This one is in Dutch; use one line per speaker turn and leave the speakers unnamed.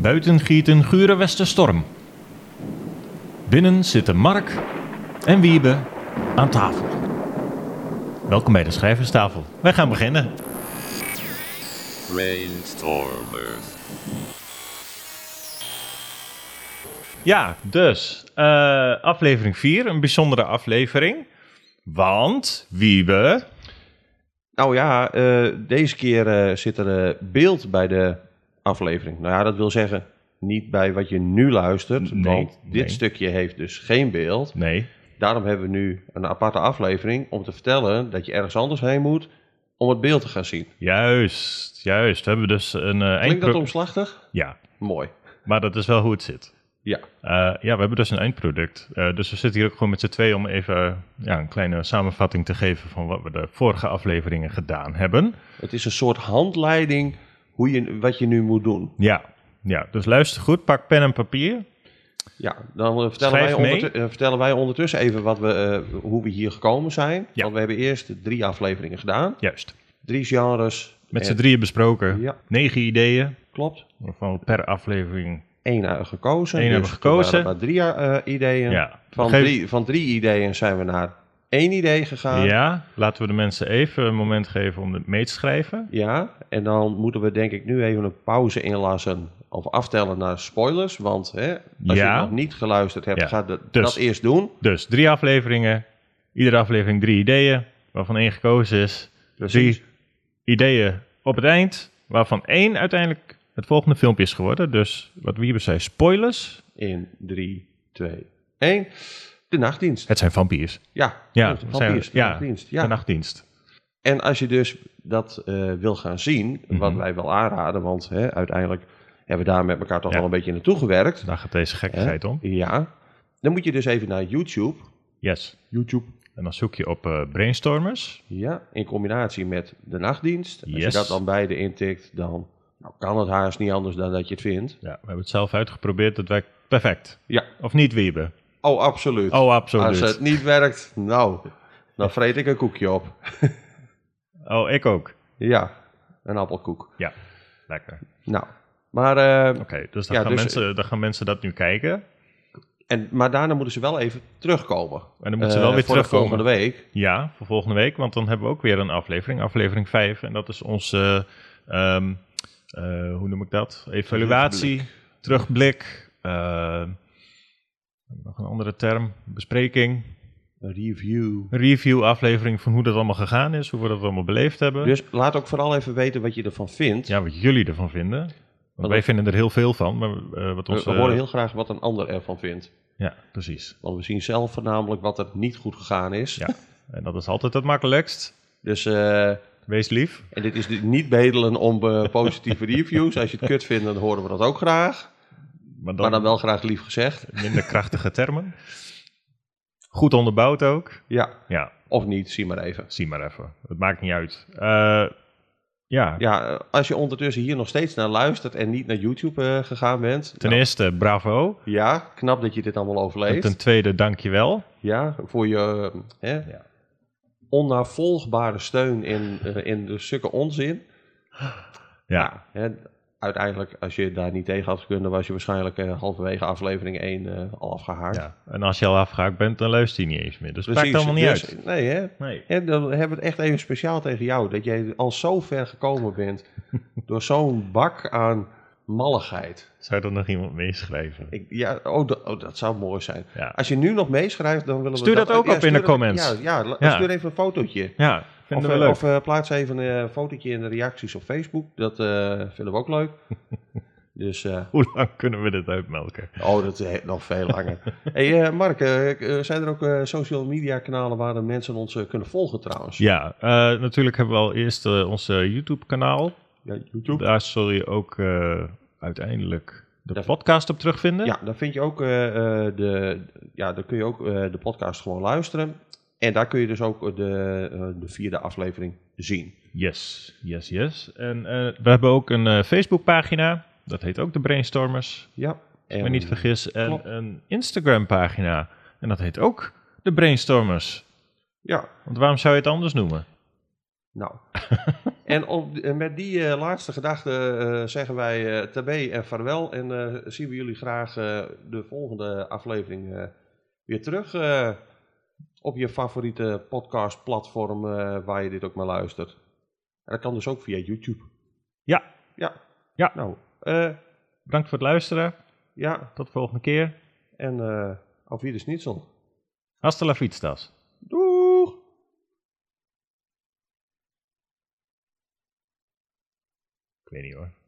Buiten giet een gure westenstorm. Binnen zitten Mark en Wiebe aan tafel. Welkom bij de schrijverstafel. Wij gaan beginnen.
Brainstormers.
Ja, dus eh, aflevering 4, een bijzondere aflevering. Want Wiebe,
Nou ja, eh, deze keer eh, zit er eh, beeld bij de aflevering. Nou ja, dat wil zeggen niet bij wat je nu luistert,
Nee,
want dit
nee.
stukje heeft dus geen beeld.
nee,
Daarom hebben we nu een aparte aflevering om te vertellen dat je ergens anders heen moet om het beeld te gaan zien.
juist, juist. We hebben dus een eh
Klinkt dat
eindpro-
omslachtig?
Ja,
Mooi.
maar dat is wel hoe het zit.
Ja,
Eh, ja, we hebben dus een eindproduct. Eh, dus we zitten hier ook gewoon met z'n tweeën om even eh, ja, een kleine samenvatting te geven van wat we de vorige afleveringen gedaan hebben.
het is een soort handleiding hoe je, wat je nu moet doen.
Ja, ja dus luister goed, pak pen en papier.
Ja, dan eh, vertellen,
Schrijf
wij
mee.
ondertu- eh, vertellen wij ondertussen even wat we, eh, hoe we hier gekomen zijn.
Ja.
Want we hebben eerst drie afleveringen gedaan.
Juist.
Drie genres.
Met
En-
z'n drieën besproken.
Ja.
Negen ideeën,
Klopt.
waarvan we per aflevering.
Eén hebben gekozen.
Eén hebben
Dus toen
gekozen.
waren er maar drie eh, ideeën.
Ja.
Van,
Geef-
drie, van drie ideeën zijn we naar één idee gegaan.
Ja, laten we de mensen even een moment geven om het mee te schrijven.
Ja, en dan moeten we denk ik nu even een pauze inlassen of aftellen naar spoilers. Want hè, als
Ja.
je nog niet geluisterd hebt,
Ja.
ga dat,
Dus-
dat eerst doen.
Dus drie afleveringen, iedere aflevering drie ideeën, waarvan één gekozen is.
Precies.
Drie ideeën op het eind, waarvan één uiteindelijk het volgende filmpje is geworden. Dus wat Wiebe zei, spoilers.
In drie, twee, één. De nachtdienst.
Het zijn vampiers.
Ja,
Ja, het
goed,
zijn-
Oh, vampiers, de
ja,
nachtdienst.
De
Ja.
nachtdienst.
En als je dus dat eh, wil gaan zien, wat
Mhm.
wij wel aanraden, want hè, uiteindelijk hebben we daar met elkaar toch
Ja. Nou,
wel een beetje naartoe gewerkt.
Daar gaat deze
Hè?
gekkigheid om.
Ja. Dan moet je dus even naar YouTube.
Yes.
YouTube.
En dan zoek je op eh, brainstormers.
Ja, in combinatie met de nachtdienst. Als je
Yes.
dat dan beide intikt, dan nou, kan het haast niet anders dan dat je het vindt.
Ja, we hebben het zelf uitgeprobeerd. Dat werkt perfect.
Ja.
Of niet, Wiebe?
Oh, absoluut.
Oh, absoluut.
Als het niet werkt, nou, dan vreet ik een koekje op.
Oh, ik ook.
Ja, een appelkoek.
Ja, lekker.
Nou, maar, eh,
Oké, dus, dan,
Ja,
gaan
dus-
mensen, dan gaan mensen dat nu kijken.
en, maar daarna moeten ze wel even terugkomen.
En dan moeten ze wel
Eh,
weer
voor de
terugkomen.
volgende week.
Ja, voor volgende week, want dan hebben we ook weer een aflevering, aflevering 5. En dat is onze, ehm, eh, hoe noem ik dat? Evaluatie, terugblik, eh, nog een andere term, bespreking,
Een Review.
review aflevering van hoe dat allemaal gegaan is, hoe we dat allemaal beleefd hebben.
Dus laat ook vooral even weten wat je ervan vindt.
Ja, wat jullie ervan vinden. Want
Wat
wij
dat-
vinden er heel veel van, maar eh, wat
we,
ons...
we
eh,
horen heel graag wat een ander ervan vindt.
Ja, precies.
Want we zien zelf voornamelijk wat er niet goed gegaan is.
Ja. En dat is altijd het makkelijkst.
Dus, eh,
Wees lief.
en dit is dus niet bedelen om eh, positieve reviews. Als je het kut vindt, dan horen we dat ook graag.
Maar
Maar dan wel graag lief gezegd.
minder krachtige termen. Goed onderbouwd ook.
Ja,
Ja,
of niet, zie maar even.
zie maar even. Het maakt niet uit. Eh, ja,
Ja, eh, als je ondertussen hier nog steeds naar luistert en niet naar YouTube eh, gegaan bent.
ten
nou,
eerste bravo.
ja, knap dat je dit allemaal
En
overleeft.
ten tweede dankjewel.
Ja, voor je eh, hè,
Ja.
onnavolgbare steun in, eh, in de stukken onzin.
Ja,
Hè, uiteindelijk, als je daar niet tegen had gekund, dan was je waarschijnlijk eh, halverwege aflevering 1 eh, al afgehaakt.
ja. En als je al afgehaakt bent, dan luister je niet eens meer. Dus het maakt
Precies,
helemaal niet
dus-
uit.
Nee, hè?
Nee.
En dan hebben we het echt even speciaal tegen jou. Dat jij al zo ver gekomen bent door zo'n bak aan malligheid.
Zou er nog iemand meeschrijven?
Ik, ja, oh, da- oh, dat zou mooi zijn.
Ja.
Als je nu nog meeschrijft, dan willen
Stuur
we...
dat ook op in
stuur
de
dat-
comments.
Ja, ja, la-
Ja.
stuur even een fotootje.
ja,
Of,
vinden
eh,
we leuk.
of eh, plaats even eh, een fotootje in de reacties op Facebook. Dat eh, vinden we ook leuk. dus eh,
Hoe lang kunnen we dit uitmelken?
Oh, dat is nog veel langer. hey, eh, Mark, eh, k- eh, zijn er ook eh, social media kanalen waar de mensen ons eh, kunnen volgen trouwens?
Ja, eh, natuurlijk hebben we al eerst eh, ons eh, YouTube-kanaal.
Ja, YouTube.
Daar zul je ook eh, uiteindelijk de
Daar-
podcast op terugvinden.
Ja, daar vind je ook eh, eh, de, ja, daar kun je ook eh, de podcast gewoon luisteren. En daar kun je dus ook eh, de, eh, de vierde aflevering zien.
Yes, yes, yes. En eh, we hebben ook een eh, Facebookpagina. Dat heet ook de Brainstormers,
Ja. En,
als ik me niet vergis. En
klopt.
een Instagram-pagina. En dat heet ook de Brainstormers.
Ja,
Want waarom zou je het anders noemen?
nou. En op, en met die eh, laatste gedachte eh, zeggen wij eh tabé en vaarwel. En eh, zien we jullie graag eh, de volgende aflevering eh, weer terug. eh, op je favoriete podcastplatform eh, waar je dit ook maar luistert. En dat kan dus ook via YouTube.
Ja.
Ja.
Ja.
Nou, eh,
Bedankt voor het luisteren.
ja.
Tot de volgende keer.
En eh auf Wiedersehen.
Hasta la fietstas.
Doeg!
Ik weet niet hoor.